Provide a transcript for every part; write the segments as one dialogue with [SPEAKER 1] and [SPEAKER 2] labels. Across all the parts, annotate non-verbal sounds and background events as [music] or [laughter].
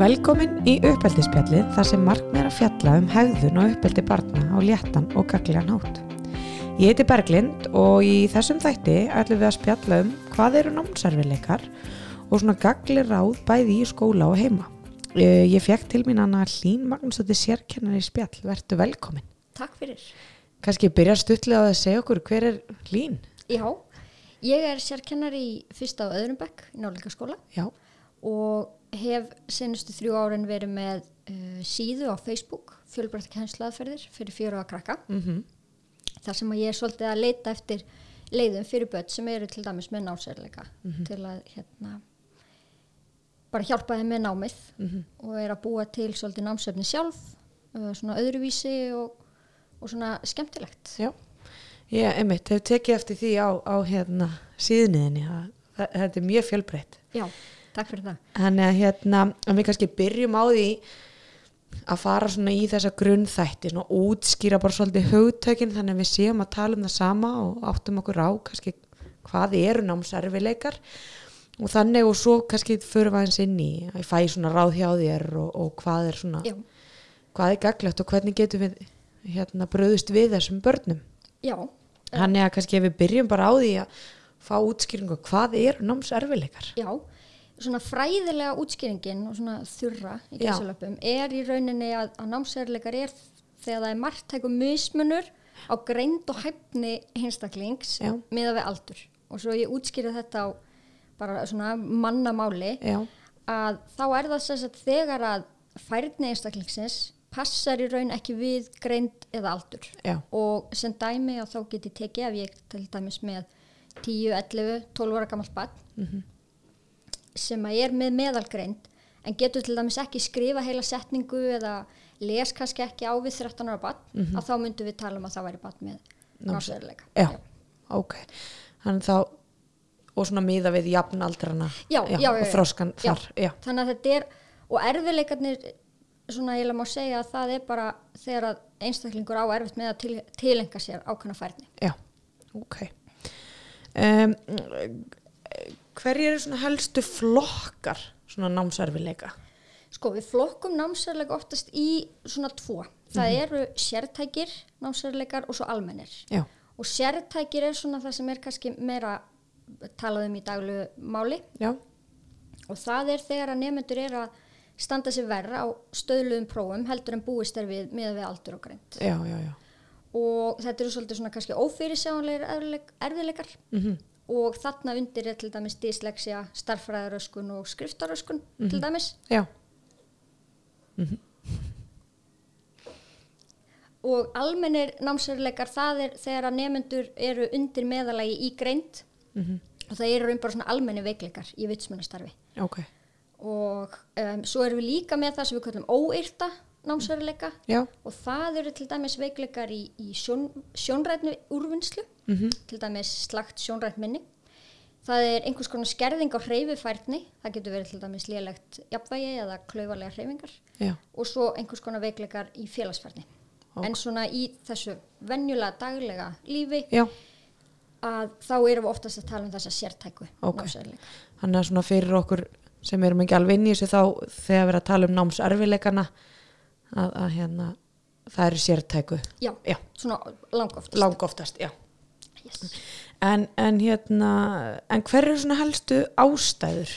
[SPEAKER 1] Velkomin í uppeldisspjallið þar sem markmið er að fjalla um hegðun og uppeldi barna á léttan og gaglilegan hátt. Ég heiti Berglind og í þessum þætti ætlum við að spjalla um hvað eru námsarfileikar og svona gagli ráð bæði í skóla og heima. Eh, Ég fekk til mín hana Hlín Magnúsdóttir sérkennar í spjall, vertu velkomin.
[SPEAKER 2] Takk fyrir.
[SPEAKER 1] Kanski byrja stuttlega á að segja okkur hver er Hlín?
[SPEAKER 2] Já, ég er sérkennari í fyrsta og öðrum bekk í náleika skóla
[SPEAKER 1] Já,
[SPEAKER 2] og hef senustu þrjú árin verið með uh, síðu á Facebook, fjölbrætt kennslaðferðir fyrir fjóra að krakka.
[SPEAKER 1] Mhm.
[SPEAKER 2] Þar sem að ég er svolítið að leita eftir leiðum fyrir börn sem eru til dæmis með násærleika til að hérna bara hjálpa þeim með námið
[SPEAKER 1] mhm.
[SPEAKER 2] og er að búa til svolítið námsöfni sjálf, uh, svona öðruvísi og, og svona skemmtilegt.
[SPEAKER 1] já. Ég einmitt hef tekið eftir því á, á hérna síðniðinni að þa- þetta er mjög fjölbreytt.
[SPEAKER 2] Já, takk fyrir það.
[SPEAKER 1] Þannig að hérna, að við kannski byrjum á því að fara svona í þessa grunnþætti, svona útskýra bara svolítið hugtökin þannig að við séum að tala um það sama og áttum okkur á kannski hvað eru námserfileikar og þannig og svo kannski förum við aðeins inn í að ég fæ svona ráð hjá þér og, og hvað er svona,
[SPEAKER 2] Já.
[SPEAKER 1] hvað er gaglegt og hvernig getum við hérna bröðust við þessum börnum.
[SPEAKER 2] Já,
[SPEAKER 1] Þannig að kannski ef við byrjum bara á því að fá útskýringu hvað eru námserfileikar.
[SPEAKER 2] já. Svona fræðilega útskýringin og svona þurra í
[SPEAKER 1] Já.
[SPEAKER 2] gæsalöpum er í rauninni að, að námsærleikar er þegar það er margtækum mismunur á greind og hæfni hinstaklings
[SPEAKER 1] Já.
[SPEAKER 2] miða við aldur. Og svo ég útskýri þetta á bara svona mannamáli
[SPEAKER 1] Já,
[SPEAKER 2] að þá er það sess að þegar að færni einstaklingsins passar í raun ekki við greind eða aldur.
[SPEAKER 1] já,
[SPEAKER 2] og sem dæmi og þá get ég tekið ef ég til dæmis með 10, 11, 12 ára gamalt barn sem að er með meðalgreind en getur til dæmis ekki skrifa heila setningu eða les kannski ekki á við 13 ára barn að þá myndum við tala um að það væri barn með náttúrulega.
[SPEAKER 1] já, ok. Þannig þá, og svona miða við jafnaldrana
[SPEAKER 2] Já, já, já,
[SPEAKER 1] og
[SPEAKER 2] já.
[SPEAKER 1] þroskan
[SPEAKER 2] Já.
[SPEAKER 1] þar, já,
[SPEAKER 2] Þannig að þetta er, og erfiðleikarnir svona ég má segja að það er bara þegar að einstaklingur á erfitt með að til, tilenga sér ákvæmna færni.
[SPEAKER 1] já, ok. Um, hverju eru svona helstu flokkar svona námsarfileika?
[SPEAKER 2] Sko, við flokkum námsærleika oftast í svona tvo. Það eru sértækir námsærleikar og svo almennir.
[SPEAKER 1] Já,
[SPEAKER 2] Og sértækir er svona það sem er kannski meira talað um í daglu máli
[SPEAKER 1] já,
[SPEAKER 2] og það er þegar að nefnendur er að standa sér verra á stöðluðum prófum heldur en búist er við með við aldur og greint.
[SPEAKER 1] já, já, já,
[SPEAKER 2] Og þetta eru svolítið svona kannski ófyrirsjáanlegir erfiðleik- erfiðleikar
[SPEAKER 1] Mhm.
[SPEAKER 2] og þarna undir er til dæmis dyslexia, starffræðaröskun og skriftaröskun til dæmis.
[SPEAKER 1] já,
[SPEAKER 2] og almennir námsveruleikar það er þegar að nefendur eru undir meðalagi í greind
[SPEAKER 1] Mhm.
[SPEAKER 2] og það eru um bara svona almenni veikleikar í vitsmunastarfi
[SPEAKER 1] ok,
[SPEAKER 2] og um, svo erum við líka með það sem við kallum óyrta námsveruleika
[SPEAKER 1] já,
[SPEAKER 2] og það eru til dæmis veikleikar í, í sjón, sjónrætnu úrvinnslu
[SPEAKER 1] Mhm.
[SPEAKER 2] til dæmis slagt sjónrætt minni það er einhvers konar skerðing á hreyfifærni það getur verið til dæmis lélegt jafnvægi eða klaufalega hreyfingar
[SPEAKER 1] já,
[SPEAKER 2] og svo einhvers konar veikleikar í félagsferðni.
[SPEAKER 1] Ok.
[SPEAKER 2] En svona í þessu venjulega daglega lífi
[SPEAKER 1] já,
[SPEAKER 2] að þá erum við oftast að tala um þessa sértæku
[SPEAKER 1] Ok.
[SPEAKER 2] námsveruleika.
[SPEAKER 1] Þannig að svona fyrir okkur sem erum ekki alveg inn í þessu þá þegar við erum að tala um námsarfileikana að, að hérna, það eru sértæku,
[SPEAKER 2] Já,
[SPEAKER 1] já,
[SPEAKER 2] svona langoftast.
[SPEAKER 1] lang oftast, já.
[SPEAKER 2] Yes.
[SPEAKER 1] En, en hérna, en hver eru svona helstu ástæður?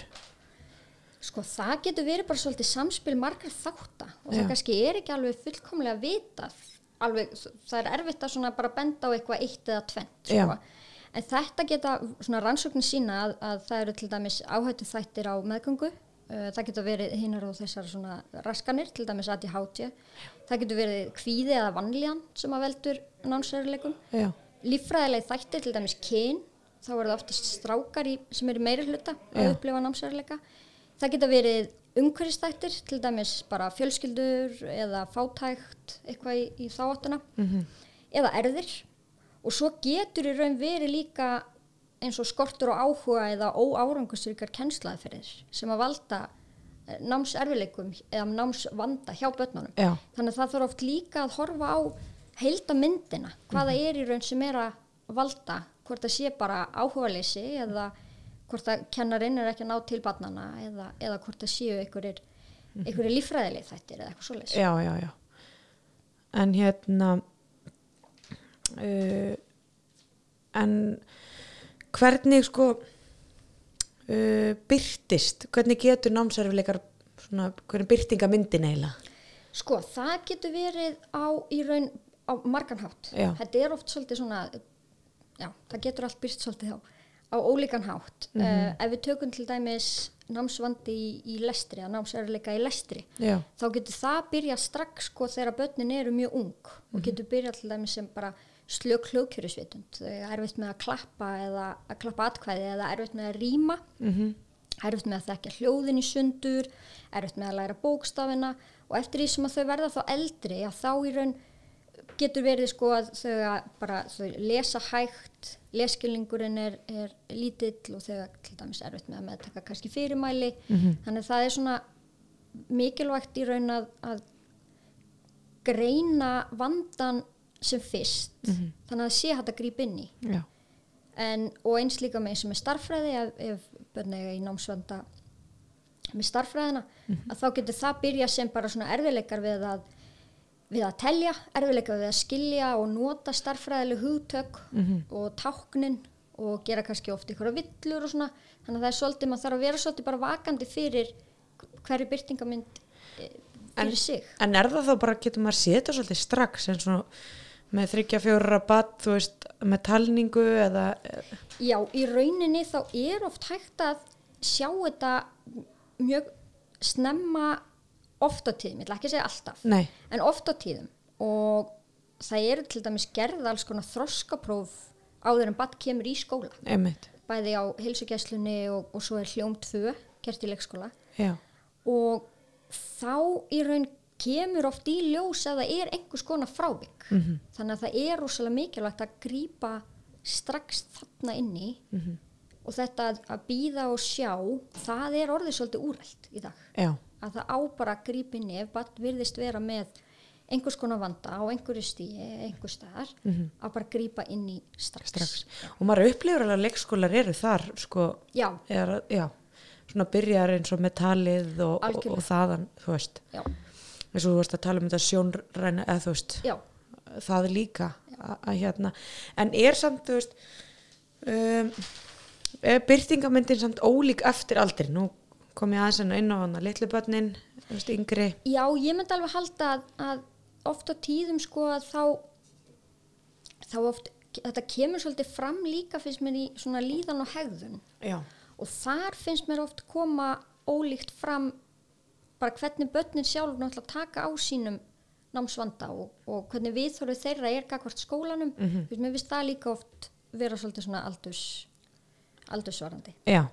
[SPEAKER 2] Sko það getur verið bara svolítið samspil margar þátta og það
[SPEAKER 1] Já.
[SPEAKER 2] kannski er ekki alveg fullkomlega vitað. Alveg, það er erfitt að svona bara benda á eitthvað eitt eða tvent.
[SPEAKER 1] Já.
[SPEAKER 2] Sko. En þetta geta svona rannsóknir sína að, að það eru til dæmis áhættu þættir á meðgöngu. Uh, það getur verið hinnar og þessar svona raskanir, til dæmis ADHD. Það getur verið kvíði eða vanlíðan sem að veldur nánsveruleikum.
[SPEAKER 1] Já,
[SPEAKER 2] Líffræðilegi þættir, til dæmis kyn, þá eru það oftast strákar í, sem eru meiri hluta að
[SPEAKER 1] Já.
[SPEAKER 2] upplifa námsveruleika. Það geta verið umhverfistættir, til dæmis bara fjölskyldur eða fátækt, eitthvað í, í þáttuna, -hmm. eða erðir. Og svo getur í raun verið líka eins og skortur og áhuga eða óárangusrykar kennslaðferðir sem að valda eh, námserfileikum eða námsvanda hjá börnunum
[SPEAKER 1] já,
[SPEAKER 2] þannig að það þarf oft líka að horfa á heildamyndina, hvaða
[SPEAKER 1] Mhm.
[SPEAKER 2] er í raun sem er að valda, hvort það sé bara áhugaleysi eða hvort að kennarinn er ekki að ná til barnana eða, eða hvort það séu einhverjir einhverju líffræðileg þættir eða eitthvað svoleiðis.
[SPEAKER 1] Mhm. já, já, já en hérna uh, en hvernig sko uh, byrtist hvernig getur námserfileikar svona, hvernig byrtinga myndin eiginlega
[SPEAKER 2] Sko, það getur verið á í raun á margan hátt.
[SPEAKER 1] Já.
[SPEAKER 2] Þetta er oft svolítið svona, já, það getur allt byrst svolítið á, á ólíkan hátt.
[SPEAKER 1] Mhm.
[SPEAKER 2] Mm ef við tökum til dæmis námsvandi í, í lestri, að námsörleika í lestri,
[SPEAKER 1] já,
[SPEAKER 2] þá getur það byrja strax sko þegar börnin eru mjög ung og getur byrja til dæmis sem bara slök hljóðkjörusvitund. Þau er erfitt með að klappa eða að klappa atkvæði eða erfitt með að rýma
[SPEAKER 1] mm
[SPEAKER 2] erfitt með að þekkja hljóðin í sundur, erfitt með að læra bókstafina og eftir því sem að þau verða þá eldri, að þá í raun getur verið sko að þau að bara þau lesa hægt, leskilningurinn er, er lítill og þau að til dæmis erfitt með að meðtaka kannski fyrirmæli,
[SPEAKER 1] Mhm.
[SPEAKER 2] þannig að það er svona mikilvægt í raun að, að greina vandan sem fyrst, þannig að það sé hægt að grípa inn í
[SPEAKER 1] já,
[SPEAKER 2] en, og eins líka með eins og með starffræði ef, ef börn eiga í námsvanda með starffræðina að þá getur það byrja sem bara svona erfileikar við að, við að telja erfileikar við að skilja og nota starffræðileg hugtök og táknin og gera kannski oft ykkur að villur og svona þannig að það er svolítið, maður þarf að vera svolítið bara vakandi fyrir hverju byrtingamynd eh, fyrir sig
[SPEAKER 1] en er það þá bara getur maður séð þetta svolítið strax en svona með þryggja fjóra rabatt þú veist, með talningu eða, eh?
[SPEAKER 2] Já, í rauninni þá er oft hægt að sjá þetta mjög snemma oft á tíðum, ég ætla ekki að segja alltaf,
[SPEAKER 1] nei,
[SPEAKER 2] en oft á tíðum og það eru til dæmis gerð alls konar þroskapróf áður en batt kemur í skóla,
[SPEAKER 1] einmitt
[SPEAKER 2] bæði á heilsugæslunni og, og svo er hljóm 2 gert í leikskóla
[SPEAKER 1] já,
[SPEAKER 2] og þá í raun kemur oft í ljós að það er einhvers konar frávik -hmm. þannig að það er rosalega mikilvægt að grípa strax þarna inni -hmm. og þetta að, að býða og sjá það er orðið svolítið úrælt í dag
[SPEAKER 1] já,
[SPEAKER 2] að það á bara að grípa inn í ef bara virðist vera með einhvers konar vanda á einhverju stíi, einhvers staðar -hmm. að bara grípa inn í strax,
[SPEAKER 1] strax og maður upplifur alveg að leikskólar eru þar sko,
[SPEAKER 2] Já,
[SPEAKER 1] er, að- já, svona byrjar eins og með talið og, og,
[SPEAKER 2] Algjörlega.
[SPEAKER 1] og þaðan, þú veist
[SPEAKER 2] já,
[SPEAKER 1] eins og þú veist að tala um þetta sjónræna eða þú veist,
[SPEAKER 2] já,
[SPEAKER 1] það líka að að hérna, en er samt þú veist um, er byrtingamyndin samt ólík eftir aldri, nú kom ég aðeins inn á- inn á hana, litlu börnin, þú veist, yngri
[SPEAKER 2] Já, ég myndi alveg halda að, að oft á tíðum sko að þá þá oft þetta kemur svolítið fram líka finnst mér í svona líðan og hegðun
[SPEAKER 1] já,
[SPEAKER 2] og þar finnst mér oft koma ólíkt fram bara hvernig börnin sjálf náttúrulega taka á sínum námsvanda og, og hvernig viðhorfið þeirra er gagvart skólanum mm -hmm. mér finnst það líka oft vera svolítið svona aldurs aldursvarandi
[SPEAKER 1] já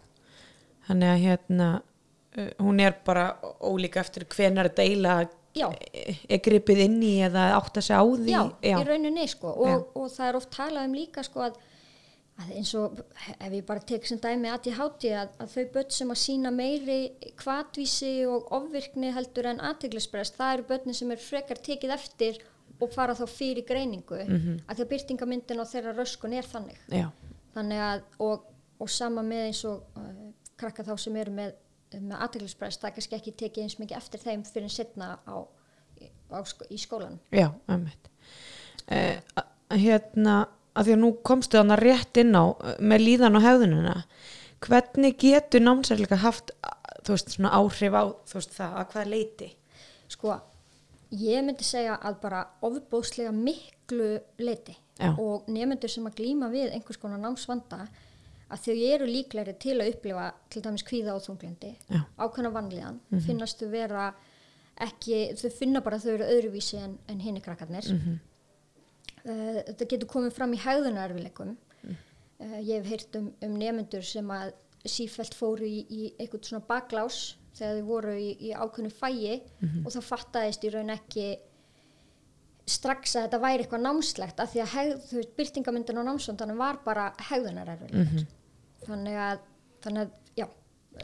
[SPEAKER 1] þannig að hérna uh, hún er bara ólík eftir hvenar deila e-
[SPEAKER 2] Já.
[SPEAKER 1] er gripið inn í eða átt að segja á því
[SPEAKER 2] já, í rauninni sko
[SPEAKER 1] Já.
[SPEAKER 2] og, og það er oft talað um líka sko að, að eins og ef ég bara tek sem dæmi ADHD að, að þau börn sem að sína meiri kvatvísi og ofvirkni heldur en aðteglisbrest, það eru börnin sem er frekar tekið eftir og fara þá fyrir greiningu að því að byrtingamyndin og þeirra röskun er þannig
[SPEAKER 1] já,
[SPEAKER 2] þannig að og, og sama með eins og uh, krakka þá sem eru með, með aðteglisbrest, það er kannski ekki tekið eins mikið eftir þeim fyrir en setna á, á, sk- í skólanum
[SPEAKER 1] Já, ömmit. Eh, a- hérna, að því að nú komstu þarna rétt inn á eh, með líðan og hefðunina, hvernig getur námsærleika haft a- þú veist, svona áhrif á þú veist, það að hvað leiti?
[SPEAKER 2] sko, ég myndi segja að bara ofbóðslega miklu leiti
[SPEAKER 1] Já.
[SPEAKER 2] og nefnendur sem að glýma við einhvers konar námsvanda að þau eru líklegri til að upplifa til dæmis kvíða og þunglindi
[SPEAKER 1] Já.
[SPEAKER 2] ákveðna vanlíðan, finnast þau vera ekki, þau finna bara að þau eru öðruvísi en, en hinni krakkarnir uh, þetta getur komið fram í hegðunarfileikum uh, ég hef heyrt um, um nefnendur sem að sífælt fóru í, í eitthvað svona baklás þegar þau voru í, í ákveðnu fæi og það fattaðist í raun ekki strax að þetta væri eitthvað námslegt af því að hegð, þú veist, byrtingamyndin og námsvöndanum var bara hegðunarerfileikar þannig að þannig að, já,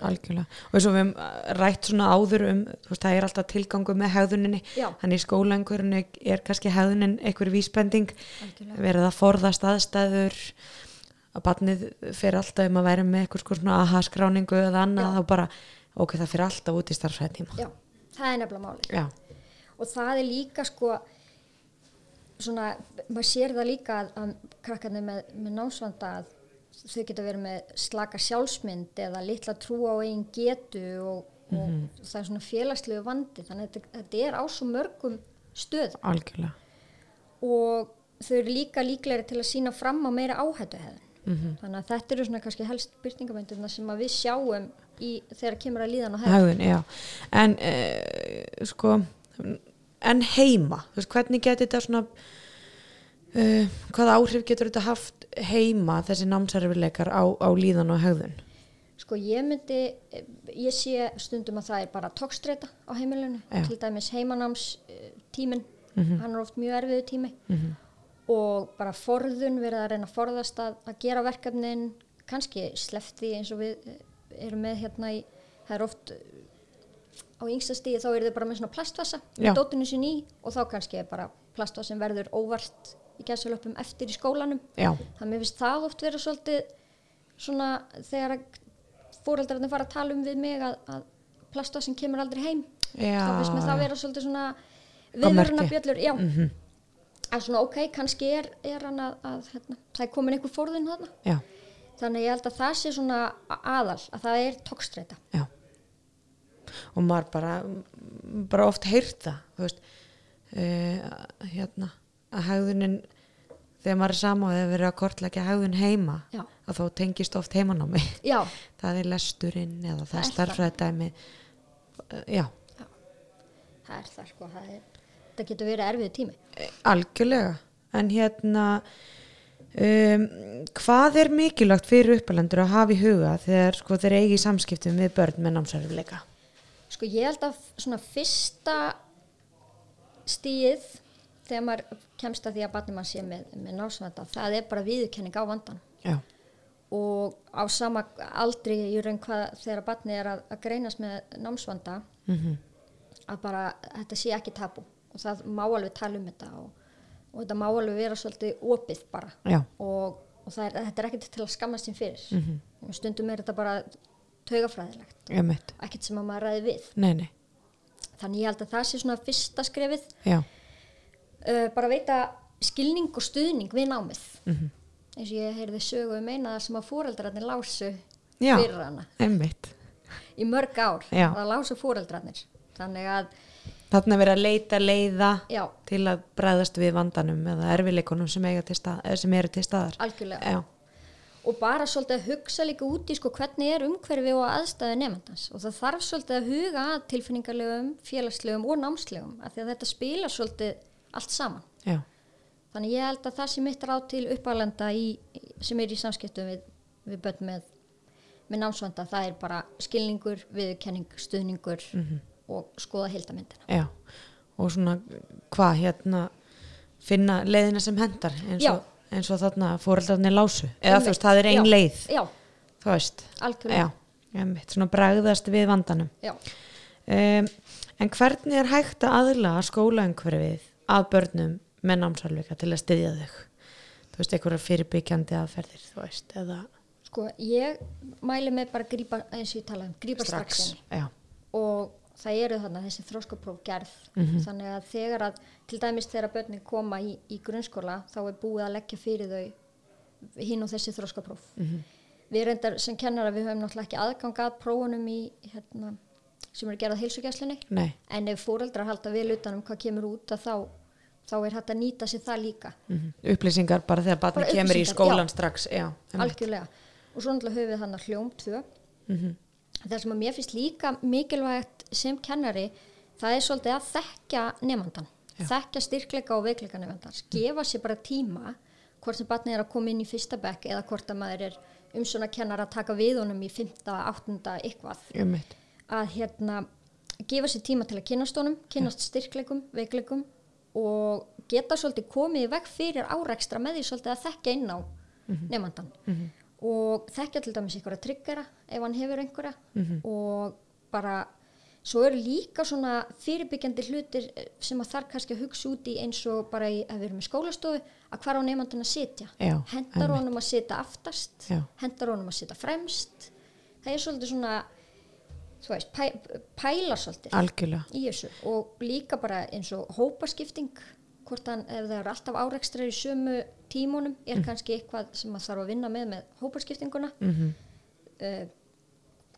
[SPEAKER 1] Algjörlega. Og eins og við höfum eh, rætt svona áður um, þú veist, það er alltaf tilgangu með hefðuninni,
[SPEAKER 2] Já.
[SPEAKER 1] þannig í skólaengurinu er kannski hefðunin einhver vísbending,
[SPEAKER 2] Algjörlega.
[SPEAKER 1] verið að forðast aðstæður, að barnið fer alltaf um að vera með eitthvað svona aha-skráningu eða annað,
[SPEAKER 2] Já.
[SPEAKER 1] þá bara, ok, það fer alltaf út í starfsæðtíma.
[SPEAKER 2] já það er nefnilega máli
[SPEAKER 1] já,
[SPEAKER 2] og það er líka sko svona, maður sér það líka að, að krakkarnir með, með námsvanda að þau geta verið með slaka sjálfsmynd eða litla trú á eigin getu og, og það er svona félagslegu vandi þannig að þetta, þetta er á svo mörgum stöð
[SPEAKER 1] algjörlega
[SPEAKER 2] og þau eru líka líklegri til að sína fram á meira áhættu þannig að þetta eru svona kannski helst byrtingamöndirna sem að við sjáum í, þegar kemur að líðan og hefð
[SPEAKER 1] hegðun, já en uh, sko en heima, þú veist, hvernig getur þetta svona uh, hvaða áhrif getur þetta haft heima þessi námsarfileikar á, á líðan og hegðun
[SPEAKER 2] Sko ég myndi, ég sé stundum að það er bara tókstreita á heimilinu,
[SPEAKER 1] Já. Mhm.
[SPEAKER 2] til dæmis heimanáms eh, tíminn, hann er oft mjög erfiðu tími og bara forðun, verið að reyna að forðast að, að gera verkefnin, kannski slefti eins og við eh, erum með hérna í, það er oft eh, á yngsta stíði þá eru þau bara með svona plastvassa,
[SPEAKER 1] Já.
[SPEAKER 2] dótinu sinni í og þá kannski er bara plastvassin verður óvart í gæsalöpum eftir í skólanum
[SPEAKER 1] já,
[SPEAKER 2] þannig mér finnst það oft vera svolítið svona þegar að fóreldrarnir fara að tala um við mig að, að plasta sem kemur aldrei heim
[SPEAKER 1] já,
[SPEAKER 2] þá finnst mér það
[SPEAKER 1] já.
[SPEAKER 2] vera svolítið svona
[SPEAKER 1] Á merki.
[SPEAKER 2] viðvöruna bjöllur já, Mhm. að svona ok, kannski er, er hann að, að hérna, það er komin einhver fórðun þarna
[SPEAKER 1] já,
[SPEAKER 2] þannig að ég held að það sé svona a- aðal að það er tókstreita
[SPEAKER 1] já og maður bara bara oft heyrt það þú veist uh, hérna, að hegðunin þegar maður er sama og þegar verið að kortleggja hegðun heima
[SPEAKER 2] Já.
[SPEAKER 1] að þá tengist oft heimanámi [laughs]
[SPEAKER 2] já,
[SPEAKER 1] það er lesturinn eða það,
[SPEAKER 2] Það
[SPEAKER 1] er
[SPEAKER 2] er
[SPEAKER 1] starfræðdæmi já,
[SPEAKER 2] það er það sko það, er, það getur verið erfið tími
[SPEAKER 1] eh, algjörlega en hérna um, hvað er mikilvægt fyrir uppalendur að hafa í huga þegar sko, þeir eigi í samskiptum við börn með námsarfileika
[SPEAKER 2] Sko ég held að svona fyrsta stíð þegar maður kemst að því að barnum að sé með, með námsvanda, það er bara viðurkenning á vandan
[SPEAKER 1] já,
[SPEAKER 2] og á sama aldri í raun hvað þegar barni er að, að greinast með námsvanda
[SPEAKER 1] Mhm.
[SPEAKER 2] að bara þetta sé ekki tabu og það má alveg tala um þetta og, og þetta má alveg vera svolítið opið bara
[SPEAKER 1] já,
[SPEAKER 2] og, og það er, þetta er ekkert til að skammast sín fyrir og stundum er þetta bara taugafræðilegt,
[SPEAKER 1] ég mitt
[SPEAKER 2] ekkert sem að maður ræði við
[SPEAKER 1] nei, nei,
[SPEAKER 2] þannig ég held að það sé svona fyrsta skrefið
[SPEAKER 1] já,
[SPEAKER 2] uh, bara veita skilning og stuðning við námið
[SPEAKER 1] Mhm.
[SPEAKER 2] eins og ég heyrði sögu um eina sem að fóreldrarnir lásu
[SPEAKER 1] Já.
[SPEAKER 2] fyrir hana
[SPEAKER 1] einmitt
[SPEAKER 2] í mörg ár,
[SPEAKER 1] Já.
[SPEAKER 2] það lásu fóreldrarnir þannig að,
[SPEAKER 1] þarna er verið að leita leiða
[SPEAKER 2] já,
[SPEAKER 1] til að bræðast við vandanum eða erfileikunum sem, eiga til stað, eh, sem eru til staðar
[SPEAKER 2] algjörlega
[SPEAKER 1] já,
[SPEAKER 2] og bara svolítið að hugsa líka út í sko hvernig er umhverfi og aðstæði nefndans og það þarf svolítið að huga að tilfinningarlegum, félagslegum og námslegum af því að þetta spilar svolítið allt saman
[SPEAKER 1] já,
[SPEAKER 2] Þannig ég held að það sem mitt ráð til uppalenda í, sem er í samskiptum við, við börn með, með námsvanda, það er bara skilningur, viðurkenning, stuðningur
[SPEAKER 1] Mhm.
[SPEAKER 2] og skoða heildamyndina.
[SPEAKER 1] já og svona hvað hérna finna leiðina sem hendar eins og, eins og þarna fóreldrarnir lásu eða þú veist það er ein
[SPEAKER 2] Já,
[SPEAKER 1] leið
[SPEAKER 2] Já,
[SPEAKER 1] þú veist
[SPEAKER 2] algjörlega.
[SPEAKER 1] já, einmitt, svona bragðast við vandanum
[SPEAKER 2] Já.
[SPEAKER 1] um, en hvernig er hægt að aðla skólaumhverfið að börnum með námsarleika til að styðja þau þú veist einhverja fyrirbyggjandi aðferðir þú veist eða
[SPEAKER 2] Sko, ég mæli með bara að grípa, eins og ég talaði um, grípa strax, strax
[SPEAKER 1] já,
[SPEAKER 2] og það eru þarna þessi þróskapróf gerð þannig að þegar að til dæmis þegar börnin koma í, í grunnskóla þá er búið að leggja fyrir þau hinn og þessi þróskapróf við reyndar sem kennara við höfum náttúrulega ekki aðgang að prófunum í hérna, sem eru gerað heilsugjæslinni
[SPEAKER 1] nei,
[SPEAKER 2] en ef fóreldrar halda vel utan um hvað kemur út að þá, þá er hægt að nýta sér það líka
[SPEAKER 1] mm upplýsingar bara þegar barni
[SPEAKER 2] Bara
[SPEAKER 1] kemur í
[SPEAKER 2] upplýsingar,
[SPEAKER 1] skólan strax já, einmitt.
[SPEAKER 2] algjörlega og svo náttúrulega höfum við þannig hljóm 2 það sem að mér finnst líka mikilvægt sem kennari það er svolítið að þekkja nefndan þekkja styrkleika og veikleika nefndans gefa sér bara tíma hvort sem barnið er að koma inn í fyrsta bekk eða hvort að maður er um svona kennar að taka við honum í 5. 8. eitthvað
[SPEAKER 1] einmitt,
[SPEAKER 2] að hérna gefa sér tíma til að kynast honum, kynast styrkleikum, veikleikum og geta svolítið komið í veg fyrir árekstra með því svolítið að þekka inn á nefndan og þekka til dæmis einhverja tryggara ef hann hefur einhverja og bara svo eru líka svona fyrirbyggjandi hlutir eh, sem að þarf kannski að hugsa út í eins og bara í, að við erum í skólastofu að hvar á nefndan að sitja
[SPEAKER 1] Já,
[SPEAKER 2] hendar honum að sitja aftast
[SPEAKER 1] Já.
[SPEAKER 2] hendar honum að sitja fremst það er svolítið svona þú veist, pæ, pæla
[SPEAKER 1] Ah.
[SPEAKER 2] svolítið
[SPEAKER 1] algjörlega.
[SPEAKER 2] í þessu og líka bara eins og hópaskipting hvort hann, ef það eru alltaf árekstrar í sömu tímunum, er kannski eitthvað sem maður þarf að vinna með með hópaskiptinguna
[SPEAKER 1] Mm -hmm.
[SPEAKER 2] uh,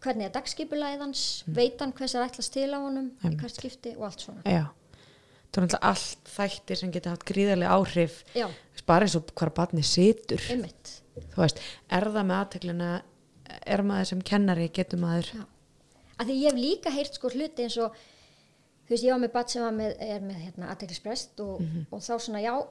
[SPEAKER 2] hvernig er dagskipulæð hans veit hann hvers er ætlast til á honum í
[SPEAKER 1] Mm. Einmitt.
[SPEAKER 2] hvert skipti og allt svona
[SPEAKER 1] Já. Það er náttúrulega allt þættir sem geta haft gríðarlega áhrif,
[SPEAKER 2] já,
[SPEAKER 1] Þú veist, bara eins og hvar barni situr.
[SPEAKER 2] einmitt
[SPEAKER 1] Þú veist, er það með aðteklina, er maður sem kennari, getur maður.
[SPEAKER 2] já. að því ég hef líka heyrt sko hluti eins og þú veist, ég var með bat sem var með, er með hérna, aðteglisprest og,
[SPEAKER 1] Mhm.
[SPEAKER 2] og þá svona, já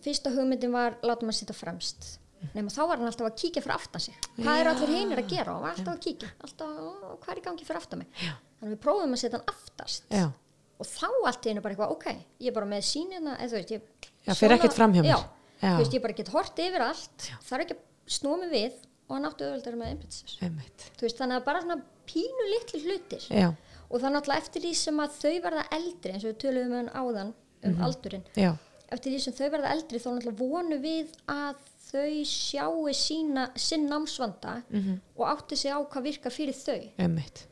[SPEAKER 2] fyrsta hugmyndin var, látum að sitja fremst
[SPEAKER 1] Mhm.
[SPEAKER 2] nema þá var hann alltaf að kíkja fyrir aftan sig hvað eru allir hinir að gera og hann var alltaf að kíkja alltaf, "Ó, hvað er í gangi fyrir aftan mig já. þannig að við prófum að setja hann aftast
[SPEAKER 1] Já.
[SPEAKER 2] og þá allt í einu bara eitthvað, ok ég er bara með sínina, eða þú veist ég,
[SPEAKER 1] Já, fer ekkert fram hjá mér.
[SPEAKER 2] já,
[SPEAKER 1] Já.
[SPEAKER 2] þú veist, ég bara get hort yfir allt þarf ekki að snúmi við og hann áttu auðvöldar með einbjöldsir
[SPEAKER 1] Einmitt.
[SPEAKER 2] þú veist, þannig að bara svona pínu litli hlutir
[SPEAKER 1] Já,
[SPEAKER 2] og það er náttúrulega eftir því sem að þau verða eldri eins og við töluðum um áðan um
[SPEAKER 1] Mhm.
[SPEAKER 2] aldurinn,
[SPEAKER 1] já,
[SPEAKER 2] eftir því sem þau verða eldri þá náttúrulega vonu við að þau sjáu sína, sinn námsvanda
[SPEAKER 1] Mhm.
[SPEAKER 2] og átti sig á hvað virkar fyrir þau
[SPEAKER 1] einmitt.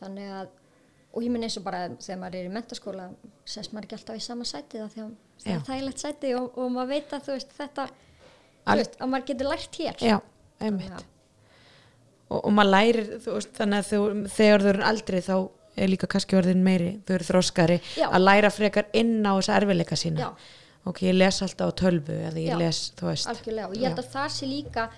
[SPEAKER 2] þannig að, og ég minn eins og bara þegar maður er í mentaskóla sess maður ekki alltaf í sama sæti það þegar það
[SPEAKER 1] Já.
[SPEAKER 2] er þægilegt sæti og, og maður veit að þú veist þetta,
[SPEAKER 1] Al-
[SPEAKER 2] þú veist, að maður getur lært hér
[SPEAKER 1] Já, einmitt. og, og maður lærir þú veist, þannig að þú, þegar þau eru aldrei þá er líka kannski orðin meiri þau eru þroskari
[SPEAKER 2] Já.
[SPEAKER 1] að læra frekar inn á þessa erfileika sína
[SPEAKER 2] Já.
[SPEAKER 1] ok, ég les alltaf á tölvu eða ég
[SPEAKER 2] Já.
[SPEAKER 1] les, þú veist
[SPEAKER 2] algjörlega og ég held að það sé líka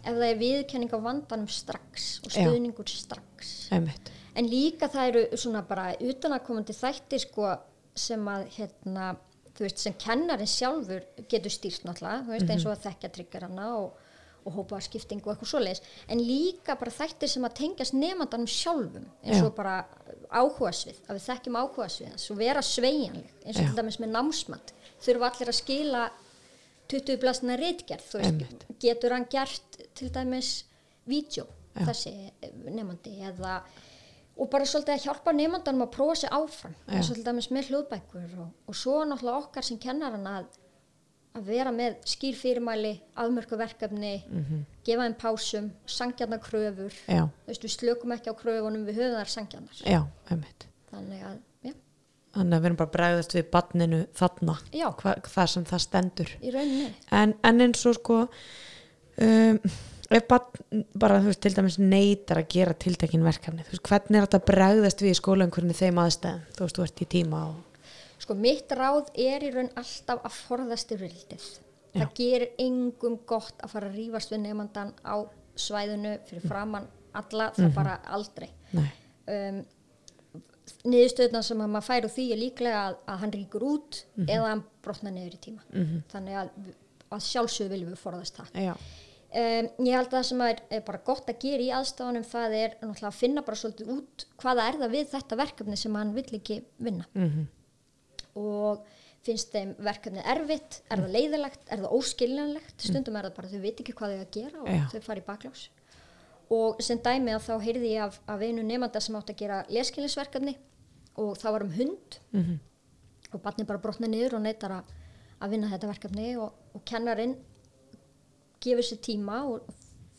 [SPEAKER 2] ef það er viðkenning á vandanum strax og
[SPEAKER 1] Já.
[SPEAKER 2] stuðningur strax
[SPEAKER 1] einmitt,
[SPEAKER 2] en líka það eru svona bara utanakomandi þættir sko sem að hérna, þú veist, sem kennarin sjálfur getur stýrt náttúrulega þú veist, eins
[SPEAKER 1] Mhm.
[SPEAKER 2] og að þekkja tryggarana og, og hópa skipting og eitthvað svoleiðis en líka bara þættir sem að tengjast nefandanum sjálfum eins
[SPEAKER 1] Já.
[SPEAKER 2] og bara áhugasvið, að við þekkjum áhugasvið hans og vera sveigjanleg eins
[SPEAKER 1] Já.
[SPEAKER 2] og til dæmis með námsmat þurfa allir að skila 20 blasna reitgerð, þú veist,
[SPEAKER 1] Einmitt.
[SPEAKER 2] getur hann gert til dæmis vídeo,
[SPEAKER 1] Já.
[SPEAKER 2] þessi nefandi eða og bara svolítið að hjálpa nefndanum að prófa sig áfram
[SPEAKER 1] Já.
[SPEAKER 2] eins og til dæmis með hljóðbækur og, og svo náttúrulega okkar sem kennar hann að að vera með skýr fyrirmæli afmörku verkefni
[SPEAKER 1] Mhm.
[SPEAKER 2] gefa þeim pásum, sangjarnar kröfur
[SPEAKER 1] já,
[SPEAKER 2] þú veist, við slökum ekki á kröfunum við höfum þar sangjarnar
[SPEAKER 1] já, einmitt
[SPEAKER 2] þannig að, já,
[SPEAKER 1] þannig að við erum bara að bregðast við barninu þarna
[SPEAKER 2] Já.
[SPEAKER 1] hva, það sem það stendur
[SPEAKER 2] í rauninni
[SPEAKER 1] en, en eins og sko um, ef barn, bara þú veist til dæmis neytar að gera tiltekin verkefni þú veist, hvernig er þetta að bregðast við í skólaumhverjum í þeim aðstæðum, þú veist, þú ert í tíma og
[SPEAKER 2] Sko mitt ráð er í raun alltaf að forðast í rildið.
[SPEAKER 1] Já.
[SPEAKER 2] Það gerir engum gott að fara að rífast við nefndan á svæðinu fyrir framann alla, það bara aldrei.
[SPEAKER 1] Nei,
[SPEAKER 2] Um, niðurstöðna sem að maður fær úr því er líklega að, að hann ríkur út eða hann brotnar niður í tíma. -hmm. Þannig að, að sjálfsögðu viljum við forðast það.
[SPEAKER 1] já,
[SPEAKER 2] Um, ég held að það sem er, er bara gott að gera í aðstafanum það er náttúrulega að finna bara svolítið út hvaða er það við þetta verkefni sem hann vill ekki vinna
[SPEAKER 1] mhm,
[SPEAKER 2] og finnst þeim verkefnið erfitt, er
[SPEAKER 1] Mm.
[SPEAKER 2] það leiðilegt, er það óskiljanlegt, stundum er það bara þau veit ekki hvað þau að gera og
[SPEAKER 1] Já.
[SPEAKER 2] þau fara í baklás. Og sem dæmi að þá heyrði ég af, af einu nefnda sem átti að gera leskiljansverkefni og það var um hund
[SPEAKER 1] mhm,
[SPEAKER 2] og barni bara brotna niður og neytar að, að vinna þetta verkefni og, og kennarin gefur sér tíma og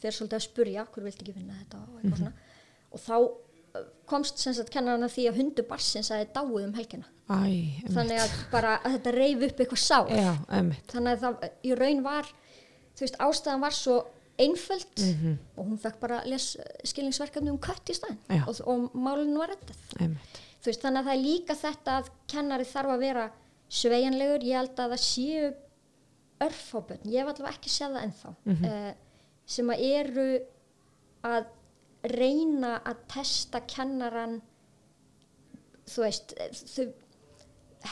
[SPEAKER 2] fer svolítið að spurja hver vildi ekki vinna þetta og
[SPEAKER 1] Mhm.
[SPEAKER 2] eitthvað svona og þá eh, komst sem sagt kennarin að því að hundu barsins að þið dáið um helgina
[SPEAKER 1] æ, einmitt,
[SPEAKER 2] þannig að bara að þetta reyf upp eitthvað sár
[SPEAKER 1] já, einmitt,
[SPEAKER 2] þannig að það í raun var þú veist ástæðan var svo einföld
[SPEAKER 1] Mhm.
[SPEAKER 2] og hún fekk bara les skilningsverkefni um kött í staðin
[SPEAKER 1] Já.
[SPEAKER 2] og, og málun var rettað
[SPEAKER 1] einmitt,
[SPEAKER 2] þú veist þannig að það er líka þetta að kennari þarf að vera sveigjanlegur ég held að það séu örfóbönn, ég hef allavega ekki séð það ennþá mm
[SPEAKER 1] Mhm.
[SPEAKER 2] sem að eru að reyna að testa kennaran þú veist eh, þau,